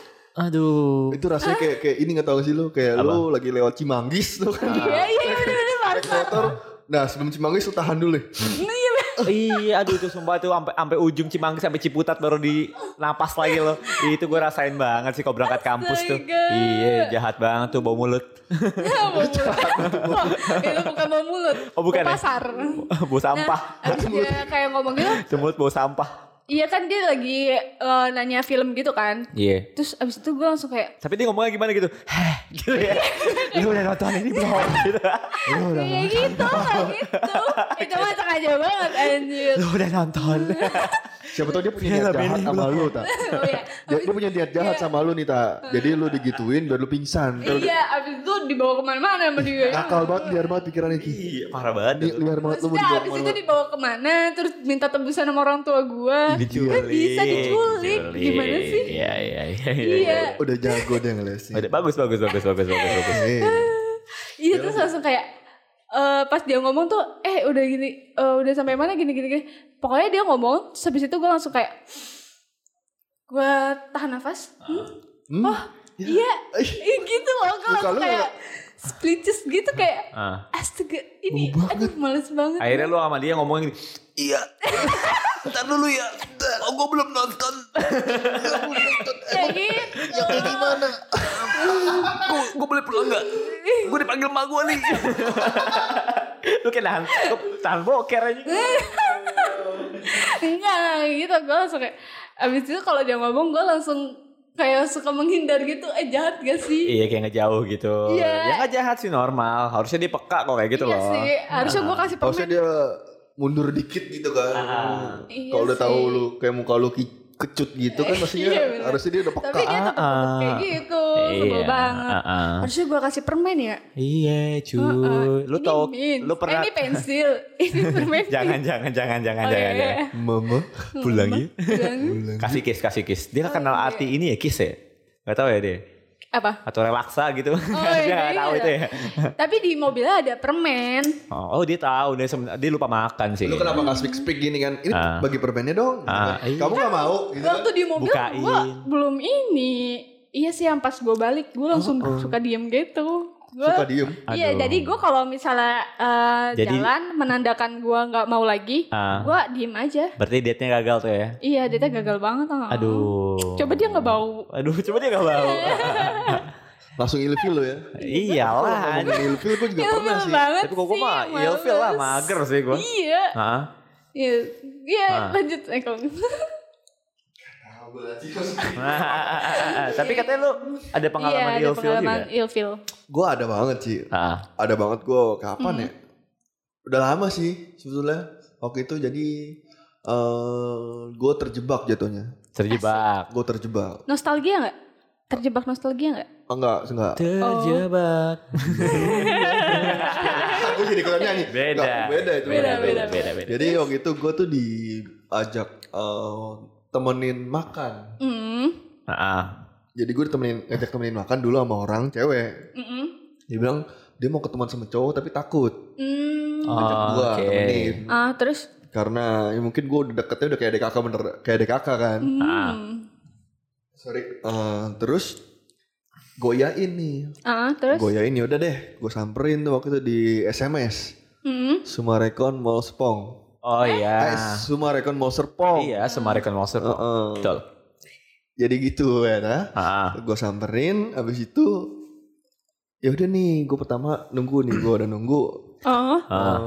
S2: Aduh.
S3: Itu rasanya kayak kayak ini nggak tahu sih lu kayak lu lagi lewat Cimanggis tuh
S2: Ah.
S3: kan.
S4: iya iya iya, bener-bener
S3: Naik motor. Nah sebelum Cimanggis lu tahan dulu nih.
S4: Iya, bener.
S2: iya, aduh itu sumpah itu sampai sampai ujung Cimanggis sampai Ciputat baru di napas lagi lo. Itu gue rasain banget sih kalau berangkat kampus tuh.
S4: Astaga.
S2: Iya, jahat banget tuh bau mulut.
S4: Bau mulut. Wah, itu bukan bau mulut
S2: Oh, bukan
S4: Bau
S2: ya?
S4: pasar
S2: bau sampah.
S4: nah abis dia kayak ngomong gitu
S2: Itu mulut bau sampah.
S4: iya kan dia lagi eh, nanya film gitu kan
S2: Iya.
S4: terus abis itu gue langsung kayak
S2: Tapi dia ngomongnya gimana gitu? Heh, gitu ya. Lu udah nonton ini belum? Gitu.
S4: Kayak gitu, kayak gitu. Itu mah sengaja banget anjir.
S2: Lu udah nonton.
S3: Siapa tau dia punya
S2: Iya,
S3: niat
S2: tapi
S3: jahat
S2: ini
S3: sama lu tak.
S4: Oh, iya.
S3: Dia, dia punya niat jahat sama lu nih tak. Jadi lu digituin biar lu pingsan. Ntar dia-
S4: Iya, abis itu dibawa kemana-mana sama dia.
S3: Nakal banget liar banget pikiran ini.
S2: Iya, parah banget.
S3: Liar banget lu mau
S4: Maksudnya
S3: dibawa
S4: abis itu
S3: kemana-mana.
S4: dibawa kemana, terus minta tebusan sama orang tua gue.
S3: ya,
S2: Diculik.
S3: Iya.
S4: Kan bisa diculik. Gimana sih?
S2: Iya, iya, iya.
S4: Iya,
S3: Udah jago deh ngelesin.
S2: Udah, bagus, bagus, bagus, bagus, bagus, bagus.
S3: Eh,
S4: Hmm? iya terus langsung kayak eh, pas dia ngomong tuh, eh udah gini, eh, udah sampai mana gini gini gini. Pokoknya dia ngomong, terus abis itu gue langsung kayak, gue tahan nafas. Hmm?
S3: Hmm? Eh,
S4: Oh, iya, Ih, gitu loh, gue
S3: Muka
S4: langsung
S3: lu
S4: kayak splitches gitu kayak
S2: Ah.
S4: Astaga, ini aduh males banget.
S2: Akhirnya lu sama dia ngomongin gini, iya. Ntar dulu ya. Ntar. Oh, gue belum nonton.
S4: Iya. kayak gitu.
S2: Gue gue boleh pulang gak? Gue dipanggil emak gue nih. lu kayak nahan, tahan boker aja.
S4: Enggak, gitu. Gue langsung kayak, abis itu kalau dia ngomong gue langsung kayak suka menghindar gitu eh jahat gak sih
S2: Iya kayak ngejauh gitu.
S4: Iya.
S2: Ya nggak jahat sih normal. Harusnya dia peka kok kayak gitu
S4: iya
S2: loh.
S4: sih harusnya gue kasih
S3: Harusnya
S4: permen
S3: dia mundur dikit gitu kan.
S4: Iya
S3: Kalau udah tahu
S4: sih.
S3: lu kayak muka lu ki- kecut gitu kan maksudnya
S4: Iya, bener.
S3: harusnya dia udah peka.
S4: tapi dia tetap tetep kayak gitu sebel
S2: Ah. Iya,
S4: banget
S2: uh-uh.
S4: harusnya gue kasih permen ya
S2: Iya cuy.
S4: Uh-uh.
S2: Lu
S4: Ini
S2: tau,
S4: mints.
S2: lu pernah.
S4: eh, ini pensil ini permen
S2: jangan, jangan, jangan, jangan,
S4: Oh,
S2: jangan,
S4: iya,
S2: jangan.
S4: iya.
S3: Mama.
S2: Pulang yuk.
S4: Bilang,
S2: Kasih kiss, kasih kiss. Dia
S4: Oh,
S2: nggak
S4: iya.
S2: kenal arti ini ya kiss ya. Gak tau ya dia.
S4: apa
S2: Atau relaksa gitu.
S4: Oh,
S2: dia
S4: iya,
S2: nggak tahu
S4: iya.
S2: itu ya.
S4: tapi di mobilnya ada permen
S2: Oh, oh, dia tahu. Dia, sem- dia lupa makan sih.
S3: Lu kenapa gak speak speak gini kan? Ini
S2: Ah.
S3: bagi permennya dong. gitu
S2: Ah,
S3: kan.
S2: iya.
S3: Kamu gak mau gitu kan?
S4: waktu di mobil
S2: Bukain.
S4: gue belum ini iya sih yang pas gue balik gue langsung suka diem gitu Gua-
S3: Oh, Suka diem.
S4: Iya,
S2: Aduh.
S4: jadi gue kalau misalnya eh,
S2: Jadi-
S4: jalan menandakan gue nggak mau lagi,
S2: Ah.
S4: gue diem aja.
S2: Berarti date-nya gagal tuh ya.
S4: Iya, dia teh gagal banget. ah.
S2: Aduh.
S4: Coba dia nggak bau.
S2: Aduh, coba dia gak bau.
S3: Langsung ilfil lu ya.
S2: Iyalah. anjing.
S3: Ngomongin ilfil gue juga
S4: Ilfil
S3: pernah sih.
S4: banget
S2: Tapi kok gue
S4: sih,
S2: mah
S4: males.
S2: ilfil lah, mager sih gue.
S4: Iya,
S2: Hah?
S4: iya, iya
S2: Ah.
S4: lanjut eh, kalau-
S3: Ah, gua lagi.
S2: Tapi katanya lu ada pengalaman
S4: iya, ada
S2: ilfil
S4: pengalaman
S2: juga. ya?
S4: ilfil.
S3: Gue ada banget sih.
S2: Ah,
S3: Ada banget gue kapan
S2: Hmm.
S3: ya? Udah lama sih sebetulnya. Waktu itu jadi eh gue terjebak jatuhnya.
S4: Oh.
S2: terjebak.
S3: Gue terjebak. Oh,
S4: Nostalgia nggak? Terjebak nostalgia nggak?
S3: Enggak, enggak.
S2: Terjebak.
S3: Aku jadi kurang nyanyi.
S2: Beda.
S3: Enggak, beda itu.
S2: Beda,
S4: Beda,
S2: beda,
S4: beda.
S2: beda, beda.
S3: Jadi waktu itu gue tuh diajak eh, temenin makan.
S4: Mm,
S2: Heeh.
S3: Jadi gue temenin ngajak temenin makan dulu sama orang cewek.
S4: mm, mm,
S3: Dia bilang dia mau ketemuan sama cowok tapi takut.
S4: mm.
S3: Ajak
S2: Oh,
S3: gue
S2: oke.
S3: temenin.
S4: Ah, terus?
S3: Karena ya mungkin gue udah deketnya udah kayak adik kakak bener. Kayak adik kakak kan.
S4: Mm.
S2: Ah.
S3: Sorry. Eh, terus goyain nih.
S4: Ah, terus?
S3: Goyain ya udah deh. Gue samperin tuh waktu itu di SMS.
S4: Mm.
S3: Sumarekon Mall Serpong.
S2: Oh
S3: Eh,
S2: iya.
S3: Sumarekon Mall Serpong.
S2: Iya, Semarikon Monster.
S3: Heeh.
S2: Betul. Ah.
S3: Jadi gitu ya. Nah.
S2: Heeh.
S3: gue samperin abis itu ya udah nih gue pertama nunggu nih gue udah nunggu
S4: Oh,
S3: eh,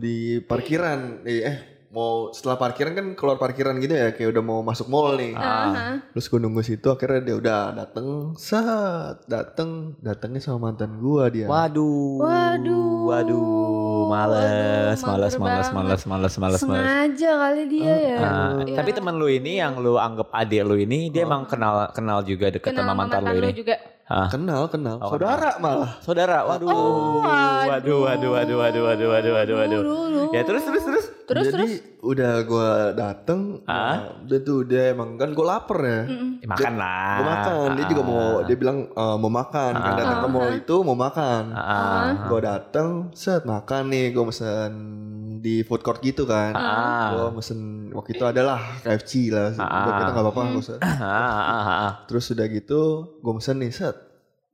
S3: di parkiran eh, eh, mau setelah parkiran kan keluar parkiran gitu ya kayak udah mau masuk mall nih
S4: ah.
S3: terus gue nunggu situ akhirnya dia udah dateng saat dateng datengnya sama mantan gue dia
S2: Waduh.
S4: Waduh.
S2: Waduh, males,
S4: Waduh,
S2: males,
S4: mager
S2: males, males, males, males, males.
S4: sengaja kali dia ya.
S2: Ah,
S4: Iya.
S2: Tapi teman lu ini yang lu anggap adik lu
S3: Oh.
S2: ini dia emang kenal kenal juga deket
S4: Kenal
S2: sama
S4: sama
S2: mantan lu ini.
S4: mantan lu juga. Oh,
S2: Ah.
S3: kenal kenal Ah, saudara malah
S2: Saudara, waduh. waduh, waduh, waduh, waduh, waduh, waduh, waduh, waduh. Ya terus terus terus.
S4: Terus
S3: jadi
S4: terus
S3: udah gue dateng
S2: Ah.
S3: udah tuh dia emang kan gue lapar ya
S2: Ya, makan lah.
S3: Gue makan, dia juga
S2: ah.
S3: mau, dia bilang eh, mau makan, kan datang ke
S4: Uh-huh.
S3: mall itu mau makan.
S2: Ah.
S3: Gue datang, set makan nih, gue mesen di food court gitu kan.
S2: Ah.
S3: Gue mesen waktu itu adalah KFC lah,
S2: Ah.
S3: udah kita nggak apa-apa. gua set.
S2: Ah, ah, ah, ah.
S3: Terus udah gitu, gue mesen nih set.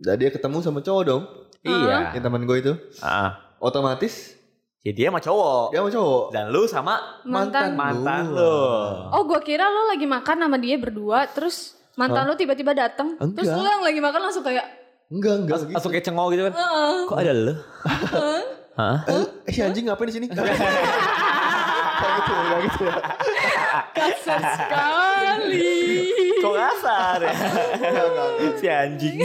S3: Dan dia ketemu sama cowok dong,
S2: Iya.
S3: yang teman gue itu.
S2: Ah.
S3: Otomatis
S2: Jadi dia sama cowok.
S3: dia sama cowok.
S2: Dan lu sama
S4: mantan.
S3: gua.
S2: mantan lu.
S4: Oh, gua kira lu lagi makan sama dia berdua terus mantan lu tiba-tiba datang. Terus
S3: Enggak.
S4: lu yang lagi makan langsung kayak
S3: Enggak, enggak gitu.
S2: Langsung kayak cengol gitu kan.
S4: "Heeh."
S2: Kok ada lu? Hah?
S3: Eh, eh, si anjing ngapain di sini? Gak gitu, gak gitu.
S4: kasar sekali.
S2: Kok kasar ya?
S3: Enggak, enggak, enggak.
S2: si anjing.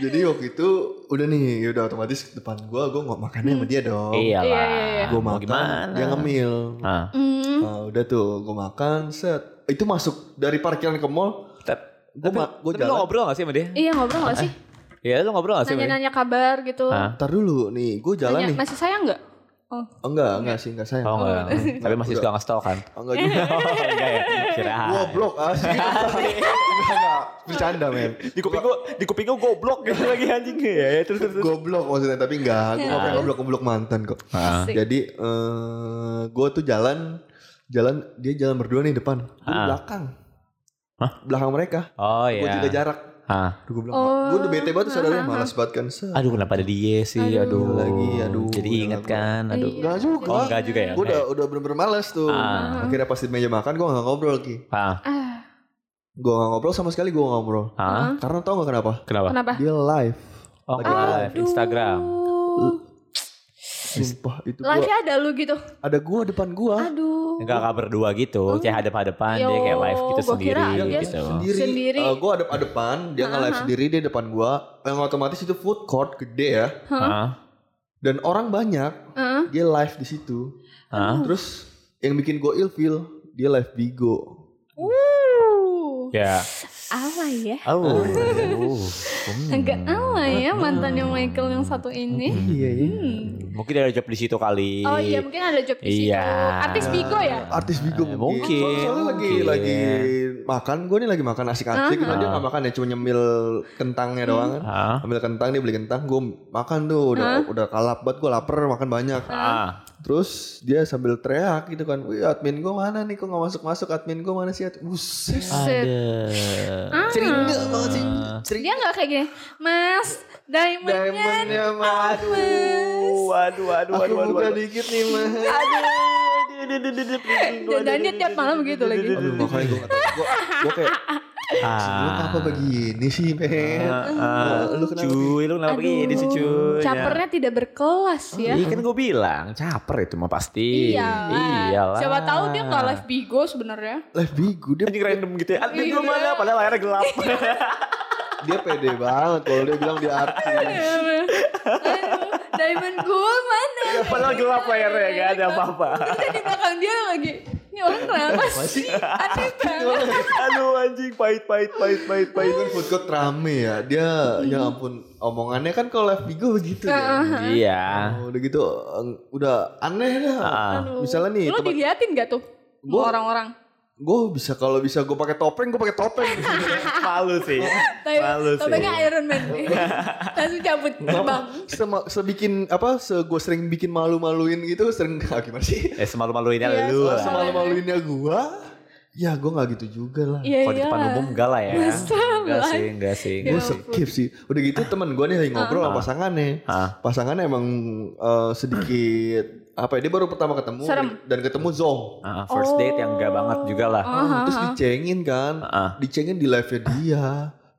S3: Jadi waktu itu udah nih ya udah otomatis depan gua gua nggak makannya sama dia dong.
S2: Iya
S4: Iya,
S2: lah.
S4: iya, iya.
S3: Gua
S2: Mau
S3: makan, dia ngemil.
S2: Ah.
S4: Hmm.
S3: Nah, udah tuh gua makan set. Itu masuk dari parkiran ke mall.
S2: Tep-
S3: Gua
S2: Tapi,
S3: ma- gua
S2: tapi lu
S3: jalan.
S2: ngobrol gak sih sama dia?
S4: Iya, ngobrol gak sih?
S2: Iya lu ngobrol gak sih sama dia?
S4: Nanya-nanya kabar gitu.
S2: Hah?
S3: Ntar dulu nih, gua jalan
S4: Nanya,
S3: nih.
S4: masih sayang nggak? Oh.
S3: Enggak, enggak sih, enggak sayang.
S2: Oh enggak, tapi masih
S3: Udah.
S2: suka ngasih tau kan?
S3: Enggak juga.
S2: Oh enggak ya, kira
S3: Goblok ah. sih. Enggak, enggak. Bercanda, men.
S2: Di kuping gua, di kuping gua goblok gitu lagi anjing ya, ya, terus terus. terus.
S3: Goblok maksudnya, tapi enggak. Gua nggak pernah goblok-goblok mantan kok.
S2: Iya. Ah.
S4: Asik.
S3: Jadi eh gue tuh jalan jalan dia jalan berdua nih depan, gue
S2: Ah.
S3: belakang. Belakang mereka.
S2: Oh
S3: Gue
S2: iya.
S3: jaga jarak.
S2: Ah.
S3: Aduh gue bilang, gue udah bete banget tuh saudaranya malas banget kan. Set.
S2: Aduh kenapa ada dia sih? Aduh.
S3: Iya lagi, aduh.
S2: Jadi
S3: Iya
S2: inget
S3: lagi.
S2: kan? Aduh.
S3: Enggak juga.
S2: Oh, enggak juga ya.
S3: Gue udah udah bener-bener males tuh. Akhirnya pas di meja makan gue gak ngobrol lagi.
S2: Ah.
S4: Ah,
S3: Gue gak ngobrol sama sekali gue gak ngobrol.
S2: Ah.
S3: Karena tau gak kenapa?
S2: Kenapa?
S4: kenapa?
S3: Dia live.
S2: Oh,
S3: Lagi
S2: live Instagram.
S4: Aduh.
S3: Sumpah itu
S4: live
S3: gua,
S4: nya ada lu gitu
S3: ada gua depan
S2: Ah.
S3: gua.
S4: aduh
S2: Enggak enggak berdua gitu, cah hadap-hadapan dia kayak live gitu
S4: Yo, gua
S2: sendiri
S4: kira dia
S2: gitu.
S3: sendiri,
S4: Sendiri.
S3: Eh, gua ada depan, dia nge live sendiri dia depan gua. Yang otomatis itu food court gede ya.
S2: Hah?
S3: Dan orang banyak,
S4: Heeh.
S3: dia live di situ.
S2: Hah?
S3: Terus yang bikin gua ilfil, dia live Bigo.
S4: uh
S2: Ya.
S4: apa ya
S2: Oh.
S4: agak ala ya mantannya Michael yang satu ini
S3: Iya, iya.
S2: Mungkin ada job di situ kali.
S4: oh iya mungkin ada job di
S2: Hmm. Iya.
S4: situ artis Bigo ya
S3: Artis Bigo
S2: Eh,
S3: mungkin.
S2: mungkin,
S3: Soalnya- Soalnya lagi
S2: mungkin.
S3: lagi makan, gua nih lagi makan asik-asik, nah dia gak makan ya cuma nyemil
S4: Hmm.
S3: kentangnya doang kan.
S2: Hah?
S3: Ambil kentang dia beli kentang, gua makan tuh udah udah kalap banget gua lapar makan banyak.
S2: Ah.
S3: Terus dia sambil teriak gitu kan, wih admin gue mana nih kok gak masuk-masuk, admin gue mana sih? Buset.
S4: Set.
S2: Ada.
S3: Ceringa banget sih.
S4: dia nggak kayak gini mas diamondnya
S3: Diamondnya mas.
S2: Waduh, waduh, waduh,
S3: Aku
S2: waduh, waduh.
S3: buka dikit nih mas.
S4: dan dan dia tiap malam begitu lagi
S3: Aduh makanya gue gue gue kayak lu
S2: Ah.
S3: apa begini sih men? Lu kenapa?
S2: Cuy, lu kenapa begini sih cuy?
S4: capernya tidak berkelas ya
S2: Iya kan gue bilang caper itu mah pasti.
S4: Iyalah.
S2: Iyalah.
S4: Iya. Siapa tahu dia nggak live Bigo sebenarnya.
S3: Lah bigu dia
S2: Anjing random gitu ya. Admin gue
S4: Iya.
S2: mana? Padahal layarnya gelap.
S3: dia pede banget kalau dia bilang dia artis.
S4: Aduh, diamond gue
S3: Ya,
S4: mana?
S2: Padahal gelap
S4: Iya,
S2: layarnya gak ada apa-apa.
S4: Terus di belakang dia lagi. Ini orang kenapa sih? Aneh banget.
S2: Aduh anjing pahit pahit pahit pahit
S3: Itu
S2: pahit.
S3: kan food court rame ya. Dia ya ampun omongannya kan kalau live bigu begitu ya.
S2: Iya.
S3: Oh, udah gitu eh, udah aneh dah.
S4: Ah. Aduh. gitu.
S3: Misalnya nih
S4: Lo diliatin gak tuh?
S3: Gua-
S4: Gua orang-orang.
S3: gue bisa kalau bisa gue pakai topeng gue pakai topeng
S2: Malu sih.
S4: Tapi
S2: Malu sih.
S4: topengnya Iron Man. Langsung cabut bang.
S3: Sema, sebikin apa se gue sering bikin malu-maluin gitu sering ah, gimana sih
S2: Eh semalu-maluinnya
S4: Iya,
S2: lu lah.
S3: semalu-maluinnya gue ya gue nggak gitu juga lah
S4: Iya
S2: Kalau di
S4: iya.
S2: depan umum enggak lah ya.
S4: Masa
S2: Enggak
S4: lah.
S2: sih, enggak sih.
S3: gue
S4: Ya ampun. Ah.
S3: skip sih udah gitu temen gue nih lagi ngobrol sama pasangannya
S2: Ah.
S3: pasangannya emang eh, sedikit apa ya dia baru pertama ketemu
S4: Serem.
S3: dan ketemu zong
S2: Ah,
S4: Oh.
S2: first date yang enggak banget juga lah.
S4: Ah,
S3: terus dicengin kan
S2: Ah.
S3: dicengin di live nya dia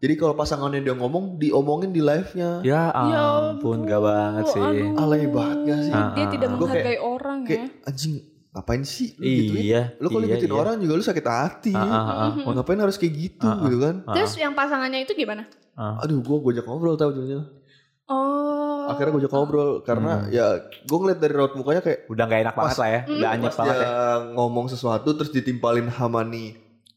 S3: jadi kalau pasangannya dia ngomong diomongin di live nya
S2: Ya ampun, enggak banget sih.
S4: Oh, aduh.
S3: alay banget gak sih
S4: Dia tidak
S3: Gua kayak-
S4: menghargai orang ya.
S3: kayak anjing ngapain sih lu gitu ya?
S2: Iya,
S3: gituin lu kalau
S2: iya,
S3: ngikutin
S2: iya.
S3: orang juga lu sakit hati
S4: Mhm.
S2: ah,
S3: ngapain harus kayak gitu gitu kan
S4: Terus yang pasangannya itu gimana?
S3: aduh gua gua ajak ngobrol tau jadinya
S4: Oh.
S3: akhirnya gua ajak ngobrol karena
S2: Hmm.
S3: ya gua ngeliat dari raut mukanya kayak
S2: Udah enggak enak banget lah ya.
S4: Hmm.
S2: Udah anyep
S3: pas iya.
S2: banget
S3: dia
S2: ya.
S3: ngomong sesuatu terus ditimpalin Hamani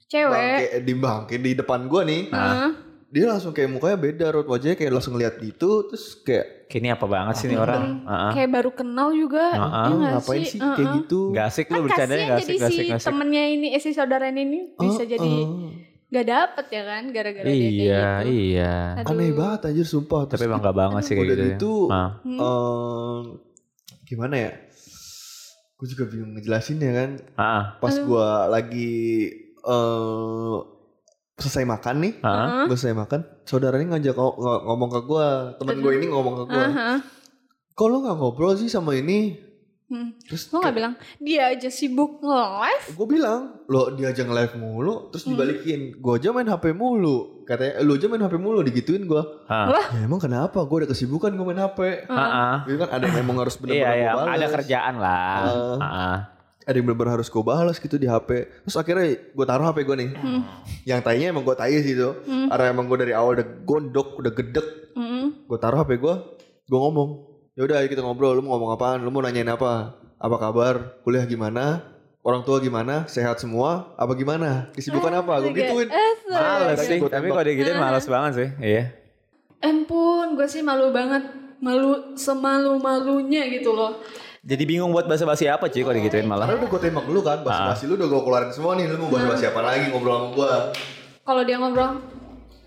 S4: Cewek. Ah.
S3: bangke di bangke di depan gua nih
S2: Nah.
S4: Heeh.
S3: dia langsung kayak mukanya beda raut wajahnya kayak langsung ngeliat gitu terus kayak
S2: Kayak ini apa banget sih
S4: Hmm.
S2: nih Iya, orang? Ah, Heeh.
S4: Kayak baru kenal juga.
S2: Ah,
S3: "Lu
S4: ya nggak
S3: ngapain sih
S4: Heeh.
S3: kayak gitu
S2: Enggak asik
S4: Kan
S2: lu bercandanya enggak
S4: kasihan
S2: asik,
S4: jadi
S2: enggak
S4: si
S2: asik, enggak asik.
S4: temennya ini, eh, si saudaranya ini bisa
S3: Ah,
S4: jadi gak dapet ya kan gara-gara dia kayak
S2: Iya,
S4: gitu.
S2: iya.
S4: Aduh.
S3: aneh banget anjir sumpah
S2: Tapi
S3: terus
S2: emang enggak banget sih kayak
S3: udah
S2: gitu. ya.
S3: gitu
S2: Ah.
S4: Hmm.
S3: em, gimana ya gue juga bingung ngejelasin ya kan
S2: Heeh.
S3: pas gue lagi eh selesai makan nih
S2: Heeh.
S3: gue selesai makan saudaranya ngajak ngo- ngo- ngomong ke gue temen gue ini ngomong ke gue
S4: Aha.
S3: kok lo nggak ngobrol sih sama ini
S4: Hmm.
S3: terus
S4: Lo gak bilang dia aja sibuk nge-live
S3: gue bilang lo diajak live mulu terus dibalikin gue aja main hp mulu katanya lo aja main hp mulu digituin gue
S2: Heeh.
S3: ya emang kenapa gue ada kesibukan gue main hp
S2: Heeh.
S3: Gitu kan ada yang emang harus
S2: Iya,
S3: benar-benar
S2: iya,
S3: gua
S2: ada
S3: balas.
S2: kerjaan lah.
S3: Heeh.
S2: Heeh.
S3: ada yang bener-bener harus gue balas gitu di HP terus akhirnya gue taruh HP gue nih yang tainya emang gue tai sih itu karena emang gue dari awal udah gondok udah gedek
S4: Mm.
S3: gue taruh HP gue gue ngomong ya udah ayo kita ngobrol lu mau ngomong apaan lu mau nanyain apa apa kabar kuliah gimana orang tua gimana sehat semua apa gimana kesibukan apa gue gituin
S4: Eh, se-
S2: Males
S3: Makanya
S2: sih,
S3: Iya, gua
S2: tapi
S3: tembak.
S2: kalau dia gituin males banget sih. Iya.
S4: ampun gue sih malu banget malu semalu-malunya gitu loh
S2: Jadi bingung buat basa-basi apa cuy kalau digituin malah.
S3: karena udah gue tembak lu kan basi basi lu udah gue keluarin semua nih lu mau bahas bahas siapa lagi ngobrol sama gue
S4: kalau dia ngobrol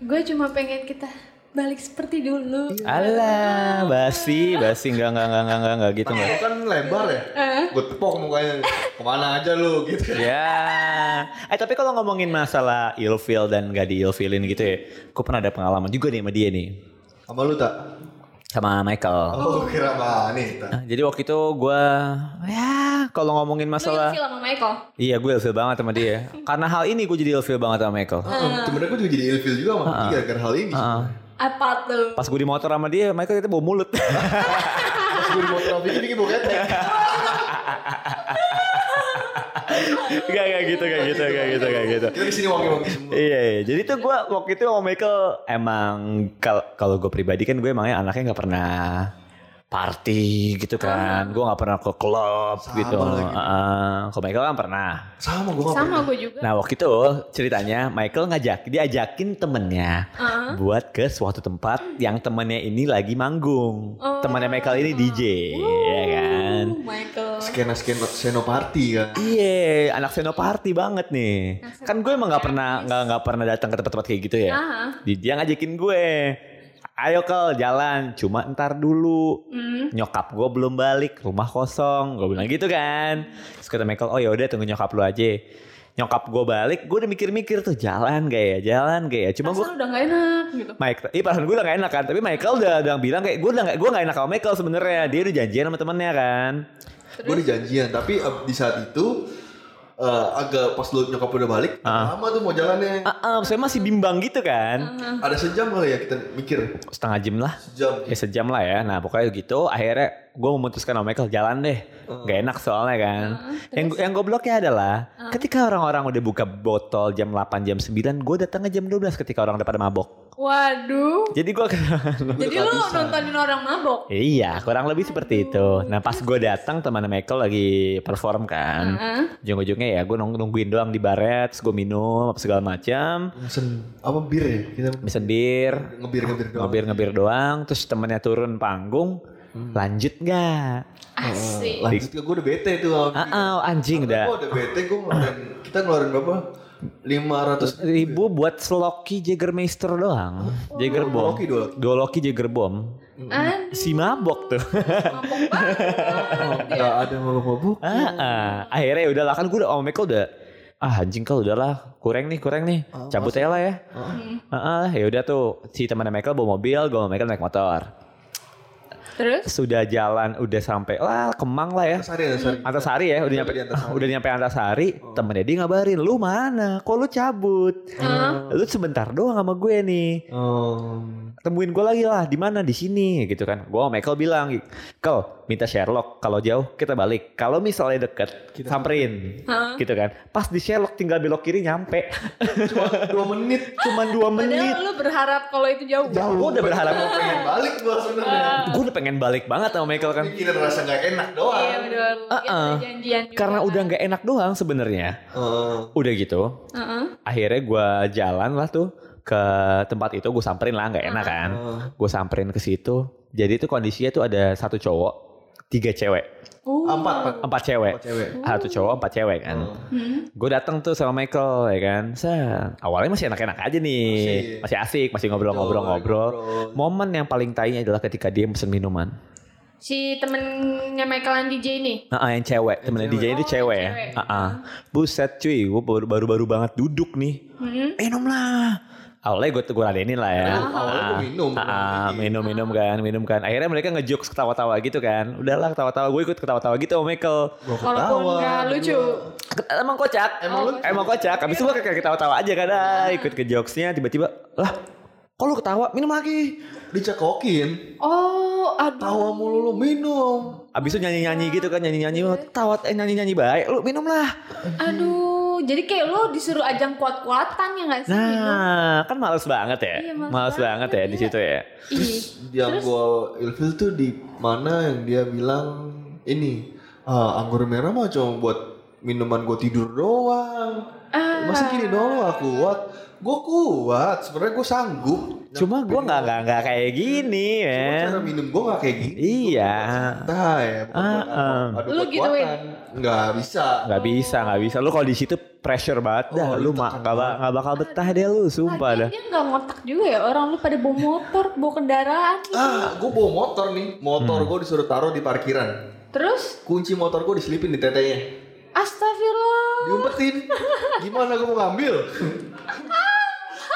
S4: gue cuma pengen kita balik seperti dulu
S2: Iya. Alah, basi, basi enggak enggak enggak enggak enggak, enggak gitu enggak.
S3: lu kan lebar ya gue tepok mukanya kemana aja lu gitu
S2: Ya. Eh tapi kalau ngomongin masalah ilfil dan gak di ilfilin gitu ya, gue pernah ada pengalaman juga nih sama dia nih,
S3: sama lu tak
S2: sama Michael.
S3: oh kira mana nih
S2: Nah, Jadi waktu itu gue, ya kalau ngomongin
S4: lu
S2: masalah,
S4: ilfil sama Michael
S2: iya gue ilfil banget sama dia. Karena hal ini gue jadi ilfil banget sama Michael.
S3: Sebenarnya gue Oh, juga jadi ilfil juga sama dia gara-gara hal ini.
S2: Ah. Ah.
S4: apa tuh
S2: Pas gue di motor sama dia, Michael kita bawa mulut.
S3: gue mau terapi ini gue bokeh.
S2: Gak, gak gitu, gak gitu, gak gitu, gak gitu.
S3: Kita di sini wangi-wangi semua.
S2: Iya, iya. Jadi tuh gue waktu itu sama Michael emang kal- kalau gue pribadi kan gue emangnya anaknya nggak pernah party gitu kan. Gue nggak pernah ke klub gitu.
S3: lagi.
S2: Heeh. Kalau Michael kan pernah.
S3: Sama gue nggak
S4: Sama gue juga.
S2: Nah waktu itu ceritanya Michael ngajak, diajakin temennya
S4: Heeh.
S2: buat ke suatu tempat yang temennya ini lagi manggung.
S4: Oh.
S2: Temannya Michael ini DJ, ya kan.
S4: Oh, Michael.
S3: skena skena senoparty kan.
S2: Iya, anak senoparty banget nih. Kan gue emang nggak pernah nggak nggak pernah datang ke tempat-tempat kayak gitu ya.
S4: Aha.
S2: Di- Dia ngajakin gue, ayo kal jalan, cuma ntar dulu.
S4: Hmm.
S2: Nyokap gue belum balik, rumah kosong. Gue bilang gitu kan. Terus kata Michael, oh yaudah tunggu nyokap lu aja. Nyokap gue balik, gue udah mikir-mikir tuh jalan gak ya, jalan gak ya. Cuma gue
S4: Perasaan udah gak enak gitu.
S2: Mike, iya perasaan gue udah gak enak kan, tapi Michael udah, udah bilang kayak gue udah gak, gue gak enak sama Michael sebenarnya, dia udah janjian sama temennya kan.
S3: Gue udah janjian tapi eh, di saat itu eh, agak pas lu nyokap udah balik, lama tuh mau jalannya.
S2: Ah, ah, saya masih bimbang gitu kan,
S3: Ada sejam kali ya kita mikir
S2: setengah jam lah.
S3: sejam.
S2: Ya sejam lah ya. Nah pokoknya gitu. Akhirnya gue memutuskan sama Michael jalan deh. Gak enak soalnya kan. yang yang gobloknya adalah ketika orang-orang udah buka botol jam 8 jam 9, gue datangnya jam 12 ketika orang udah pada mabok.
S4: Waduh.
S2: Jadi gue
S4: Jadi lu nontonin orang mabok.
S2: Iya, kurang lebih seperti itu. Nah, pas gue datang teman Michael lagi perform kan.
S4: Heeh.
S2: Ujung-ujungnya ya gue nung- nungguin doang di baret, terus gue minum apa segala macam.
S3: Mesen apa bir ya? Kita
S2: Mesen bir,
S3: ngebir ngebir doang.
S2: ngebir ngebir doang terus temennya turun panggung lanjut nggak
S3: Eh,
S4: Asik.
S3: lanjut ke gue udah bete tuh. sama
S2: ah
S3: bir.
S2: ah, anjing
S3: Gue
S2: dah
S3: Iya. udah bete gue ngeluarin kita ngeluarin berapa? 500
S2: ribu buat sloki Jägermeister doang
S3: Oh,
S2: Jager Bomb
S3: Doloki, Doloki.
S2: Doloki Jager Bomb
S4: An
S2: si mabok tuh
S4: Kan?
S2: Oh,
S4: mabok
S2: iya.
S4: banget.
S3: Gak ada mabuk-mabuk.
S2: ah, ah.
S3: Iya.
S2: akhirnya udahlah kan gue udah sama Michael udah ah anjing kalau udahlah kurang nih kurang nih
S3: Oh,
S2: cabut aja lah ya ah, ah, ya udah tuh si temannya Michael bawa mobil gue sama Michael naik motor
S4: Terus?
S2: sudah jalan udah sampai lah kemang lah ya
S3: Sari ada sari.
S2: Antasari ya udah nyampe
S3: di Antasari. Oh.
S2: udah nyampe Antasari temennya dia ngabarin lu mana kok lu cabut lu sebentar doang sama gue nih
S3: Um,
S2: temuin gue lagi lah di mana di sini gitu kan gue sama Michael bilang kau minta Sherlock kalau jauh kita balik kalau misalnya deket samperin gitu kan pas di Sherlock tinggal belok kiri nyampe
S3: dua menit
S2: cuman dua menit
S4: Padahal lu berharap kalau itu jauh.
S2: jauh gue udah berharap
S3: Gua pengen balik gue sebenarnya.
S4: Ah.
S2: gue udah pengen balik banget sama Michael kan
S3: Mikirin rasa gak enak doang.
S4: Iya benar. Iya, ada janjian juga.
S2: Uh-uh. karena udah nggak enak doang sebenarnya
S3: Eh,
S2: udah gitu
S4: Heeh.
S2: akhirnya gue jalan lah tuh ke tempat itu gue samperin lah nggak
S4: Uh-uh.
S2: enak kan gue samperin ke situ jadi itu kondisinya tuh ada satu cowok tiga cewek
S4: Uh.
S3: empat empat
S2: Ah, empat cewek
S3: Empat cewek.
S2: satu cowok empat cewek kan
S3: Hmm.
S4: Uh-huh.
S2: gue datang tuh sama Michael ya kan Set. awalnya masih enak-enak aja nih
S3: Masih.
S2: masih, asik masih ngobrol-ngobrol-ngobrol momen yang paling tainya adalah ketika dia pesen minuman
S4: Si temennya Michael and DJ ini.
S2: Nah, yang cewek temennya DJ itu cewek ya.
S4: cewek.
S2: Ah, ah. Buset cuy, gue baru- baru-baru banget duduk nih.
S4: Hmm.
S2: Minum lah. Awalnya gue gue ladenin lah ya.
S3: awalnya
S2: Ah,
S3: gua minum,
S2: ah, ah, minum minum kan, minum kan. Akhirnya mereka ngejokes ketawa-tawa gitu kan. Udahlah ketawa-tawa, gue ikut ketawa-tawa gitu sama Michael.
S4: Walaupun gak lucu.
S2: Iya. Ket- Emang kocak, emang, emang kocak. Habis itu gue kayak ketawa-tawa aja kan, ah, ikut ke jokesnya. Tiba-tiba, lah, kok lu ketawa? Minum lagi.
S3: dicekokin
S4: Oh, aduh.
S3: tawa mulu lu minum
S2: Abis itu nyanyi-nyanyi gitu kan, nyanyi-nyanyi, ketawa, eh, nyanyi-nyanyi baik. Lu minum lah.
S4: Aduh. Jadi kayak lu disuruh ajang kuat-kuatan ya gak sih?
S2: Nah, kan males banget ya.
S4: Iya,
S2: males,
S4: males
S2: banget,
S4: banget,
S2: ya di
S4: iya.
S2: situ ya.
S4: Ih.
S3: yang gua ilfil tuh di mana yang dia bilang ini "Ah, anggur merah mah cuma buat minuman gua tidur doang masa gini doang lu gak kuat gua kuat sebenarnya gua sanggup
S2: Cuma gua nggak nggak nggak kayak gini,
S3: Iya. Cuma
S2: ya.
S3: cara minum gua gak kayak gini
S2: Iya.
S3: Entah ya bukan buat
S2: Ah,
S3: apa.
S2: ah.
S3: Aduh,
S4: Lu
S3: buat
S4: gituin?
S3: kuatan. nggak bisa
S2: Nggak bisa, nggak bisa. Lu kalau di situ pressure banget dah.
S3: Oh,
S2: lu
S3: itu
S2: mah
S3: kan
S2: nggak ba- nggak bakal betah deh lu, sumpah dah.
S4: Lagian dia gak ngotak juga ya orang lu pada bawa motor, bawa kendaraan.
S3: ah gua bawa motor nih motor gua disuruh taruh di parkiran
S4: Terus,
S3: kunci motor gua diselipin di tetenya
S4: astagfirullah.
S3: diumpetin gimana gue mau ngambil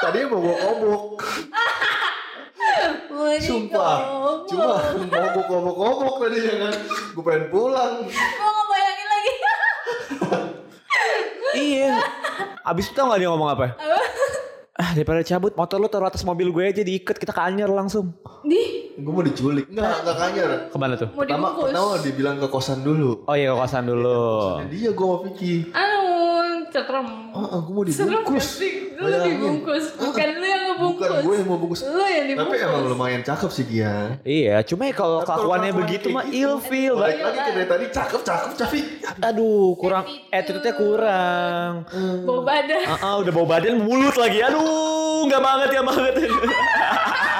S3: tadinya mau gue kobok
S4: Wih,
S3: sumpah
S4: goblok.
S3: cuma mau gue kobok kobok tadi kan gue pengen pulang
S4: Gua nggak bayangin lagi.
S2: iya. Abis itu tau nggak dia ngomong apa? ah daripada cabut motor lu taruh atas mobil gue aja diikat kita ke Anyer langsung.
S4: Di
S3: Gue mau diculik. Enggak, enggak kanyar.
S2: Kemana tuh?
S4: mau
S3: Pertama,
S4: dibungkus.
S3: pertama dibilang ke kosan dulu.
S2: Oh iya ke kosan dulu.
S3: Nah, dia gue mau pikir.
S4: Anu, cetrem.
S3: Ah, ah, gue mau
S4: Serem gak
S3: dibungkus.
S4: sih? Lu
S3: Bayangin.
S4: dibungkus, bukan lu yang ngebungkus.
S3: Bukan gue yang mau bungkus.
S4: Lu yang
S3: Tapi
S4: dibungkus.
S3: emang lumayan cakep sih dia.
S2: Iya, cuma ya
S3: Tapi
S2: kalau
S3: kalau
S2: kelakuannya
S3: kelakuan
S2: begitu
S3: kayak
S2: mah
S3: gitu,
S4: Iya,
S2: ilfeel. Bang.
S3: Balik
S4: kan?
S3: lagi ke dari tadi cakep cakep cakep.
S2: Aduh, kurang attitude-nya kurang.
S4: Bawa badan.
S2: Ah, ah, udah bau badan mulut lagi. Aduh, nggak banget ya banget.